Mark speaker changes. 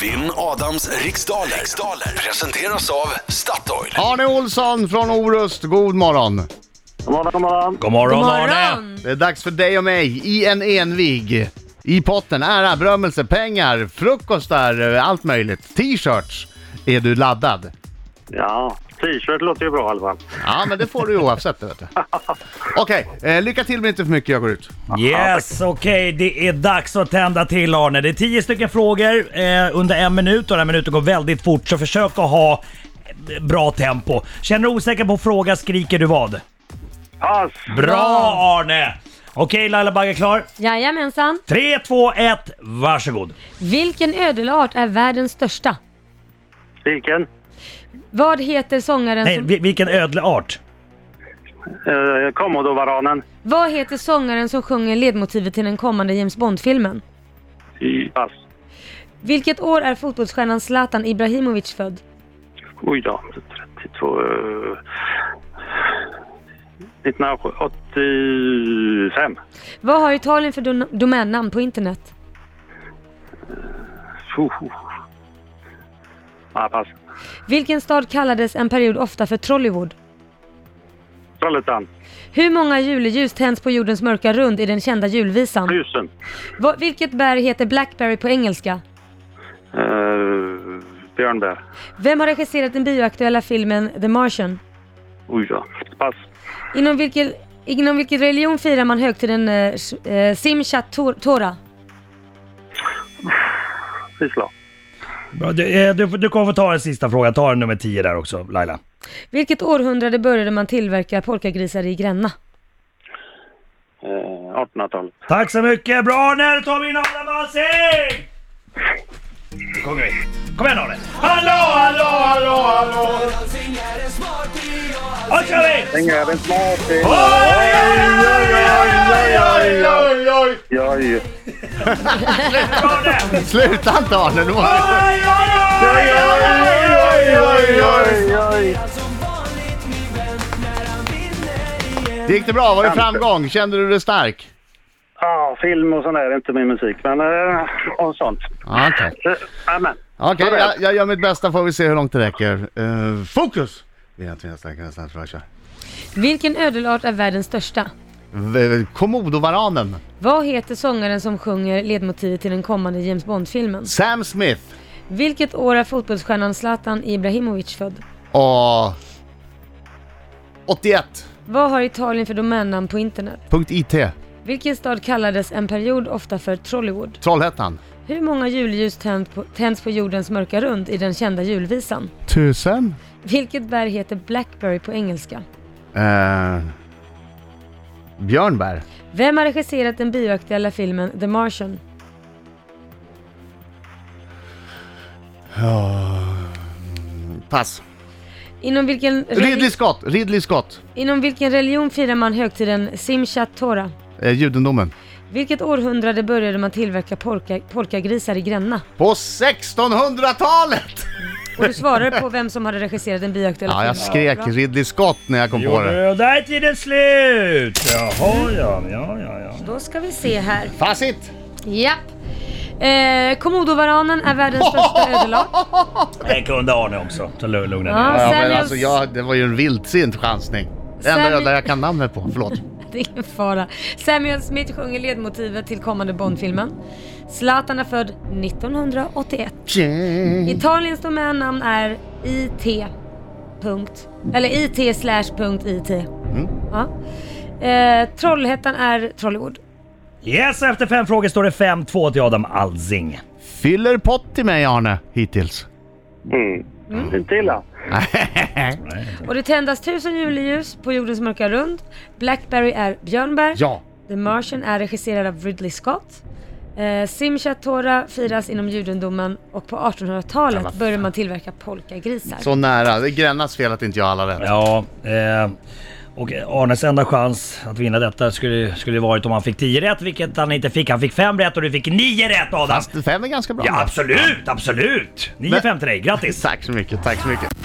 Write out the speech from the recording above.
Speaker 1: Vinn Adams riksdaler. riksdaler presenteras av Statoil.
Speaker 2: Arne Olsson från Orust, god morgon!
Speaker 3: God morgon, god morgon.
Speaker 4: God morgon,
Speaker 5: God
Speaker 4: Arne!
Speaker 5: morgon!
Speaker 2: Det är dags för dig och mig i en envig. I potten ära, berömmelse, pengar, frukostar, allt möjligt. T-shirts. Är du laddad?
Speaker 3: Ja, t-shirt låter ju bra i alla fall.
Speaker 2: Ja, men det får du ju oavsett. Vet du. Okej, eh, lycka till men inte för mycket. Jag går ut.
Speaker 4: Yes, okej. Det är dags att tända till Arne. Det är tio stycken frågor eh, under en minut och den här minuten går väldigt fort så försök att ha eh, bra tempo. Känner du osäker på fråga skriker du vad?
Speaker 3: Pass!
Speaker 4: Bra Arne! Okej Laila Bagge klar.
Speaker 5: Jajamensan.
Speaker 4: 3, 2, 1, varsågod.
Speaker 5: Vilken ödelart är världens största?
Speaker 3: Vilken?
Speaker 5: Vad heter sångaren
Speaker 4: Nej,
Speaker 5: som...
Speaker 4: vi- vilken ödleart.
Speaker 3: Eh, Commodovaranen.
Speaker 5: Vad heter sångaren som sjunger ledmotivet till den kommande James Bond-filmen?
Speaker 3: I- Pass.
Speaker 5: Vilket år är fotbollsstjärnan Zlatan Ibrahimovic född?
Speaker 3: Oj då. 32... eh, 1985.
Speaker 5: Vad har Italien för dom- domännamn på internet?
Speaker 3: Puh. Ja, pass.
Speaker 5: Vilken stad kallades en period ofta för Trollywood?
Speaker 3: Trollhättan.
Speaker 5: Hur många juleljus tänds på jordens mörka rund i den kända julvisan?
Speaker 3: Tusen.
Speaker 5: Va- vilket bär heter Blackberry på engelska?
Speaker 3: Eh, Björnberg.
Speaker 5: Vem har regisserat den bioaktuella filmen The Martian?
Speaker 3: Oj då. Pass.
Speaker 5: Inom vilken, inom vilken religion firar man högtiden eh, sh- eh, Simchat Tor- Torah?
Speaker 3: Isla.
Speaker 4: Bra, Du, eh, du, du kommer få ta en sista fråga. Ta nummer 10 där också Laila.
Speaker 5: Vilket århundrade började man tillverka polkagrisar i Gränna?
Speaker 3: Eh, 1800-talet.
Speaker 4: Tack så mycket. Bra Arne, då tar vi in Adam Alsing! Nu sjunger vi. Kom igen Arne. Hallå, hallå, hallå, hallå! Och kör vi!
Speaker 3: Pengar är smart.
Speaker 4: Oj, oj, oj, oj, oj, oj, oj!
Speaker 3: Oj.
Speaker 4: Arne!
Speaker 2: Sluta inte Arne! Nu måste...
Speaker 4: Oj, oj, oj, oj, oj, oj, oj!
Speaker 3: oj.
Speaker 2: Det gick det bra? Var det framgång? Kände du dig stark?
Speaker 3: Ja, film och sånt där är inte min musik, men eh, och sånt.
Speaker 2: Ja, Okej,
Speaker 3: Eh, Amen.
Speaker 2: Okej,
Speaker 3: Sådär.
Speaker 2: jag, jag gör mitt bästa får vi se hur långt det räcker. Eh, fokus! Vi är inte starka nästan tror jag kör.
Speaker 5: Vilken ödelart är världens största?
Speaker 2: V- Komodovaranen.
Speaker 5: Vad heter sångaren som sjunger ledmotivet till den kommande James Bond-filmen?
Speaker 2: Sam Smith.
Speaker 5: Vilket år är fotbollsstjärnan Zlatan Ibrahimovic född?
Speaker 2: Och... 81.
Speaker 5: Vad har Italien för domännamn på internet?
Speaker 2: Punkt IT.
Speaker 5: Vilken stad kallades en period ofta för Trollywood?
Speaker 2: Trollhättan.
Speaker 5: Hur många julljus tänd på, tänds på jordens mörka rund i den kända julvisan?
Speaker 2: Tusen.
Speaker 5: Vilket bär heter Blackberry på engelska?
Speaker 2: Eh, Björnberg.
Speaker 5: Vem har regisserat den bioaktuella filmen The Martian?
Speaker 2: Pass.
Speaker 5: Inom vilken,
Speaker 2: Ridley Scott. Ridley Scott.
Speaker 5: inom vilken religion firar man högtiden Simchat Torah?
Speaker 2: Eh, judendomen.
Speaker 5: Vilket århundrade började man tillverka polka, polkagrisar i Gränna?
Speaker 2: På 1600-talet!
Speaker 5: Och du svarade på vem som hade regisserat den bioaktuella
Speaker 2: Ja, jag
Speaker 5: filmen.
Speaker 2: skrek
Speaker 5: Bra.
Speaker 2: Ridley Scott när jag kom på
Speaker 4: Gjorde
Speaker 2: det.
Speaker 4: du? Och Där är tiden slut! Jaha, ja, ja, ja, ja.
Speaker 5: Då ska vi se här.
Speaker 2: Facit!
Speaker 5: Japp. Eh, Komodovaranen är världens största ödelart.
Speaker 4: Det kunde Arne också, så lugn- lugna ner
Speaker 5: Ja,
Speaker 2: Ja, men
Speaker 5: Samuels-
Speaker 2: alltså, jag, det var ju en vildsint chansning. Det enda
Speaker 5: Samuel-
Speaker 2: ödla jag kan namnet på. Förlåt.
Speaker 5: Det är ingen fara. Samuel Smith sjunger ledmotivet till kommande Bondfilmen. Zlatan är född 1981. Italiens domännamn är IT. Punkt. Eller IT slash punkt IT. Ja. Eh, Trollhättan är Trollywood.
Speaker 4: Yes, efter fem frågor står det 5-2 till Adam Alsing.
Speaker 2: Fyller pott till mig Arne, hittills.
Speaker 3: Mm. Inte illa.
Speaker 5: Och det tändas tusen juleljus på jordens mörka rund. Blackberry är Björnberg.
Speaker 2: Ja.
Speaker 5: The Martian är regisserad av Ridley Scott. Eh, Simchat Torah firas inom judendomen och på 1800-talet började man tillverka polkagrisar.
Speaker 2: Så nära. Det är Grännas fel att inte jag har alla rätt.
Speaker 4: Ja, eh, och Arnes enda chans att vinna detta skulle, skulle varit om han fick 10 rätt, vilket han inte fick. Han fick 5 rätt och du fick 9 rätt Adam!
Speaker 2: Fast fem är ganska bra.
Speaker 4: Ja absolut, absolut! 9-5 till dig, grattis!
Speaker 2: Tack så mycket, tack så mycket.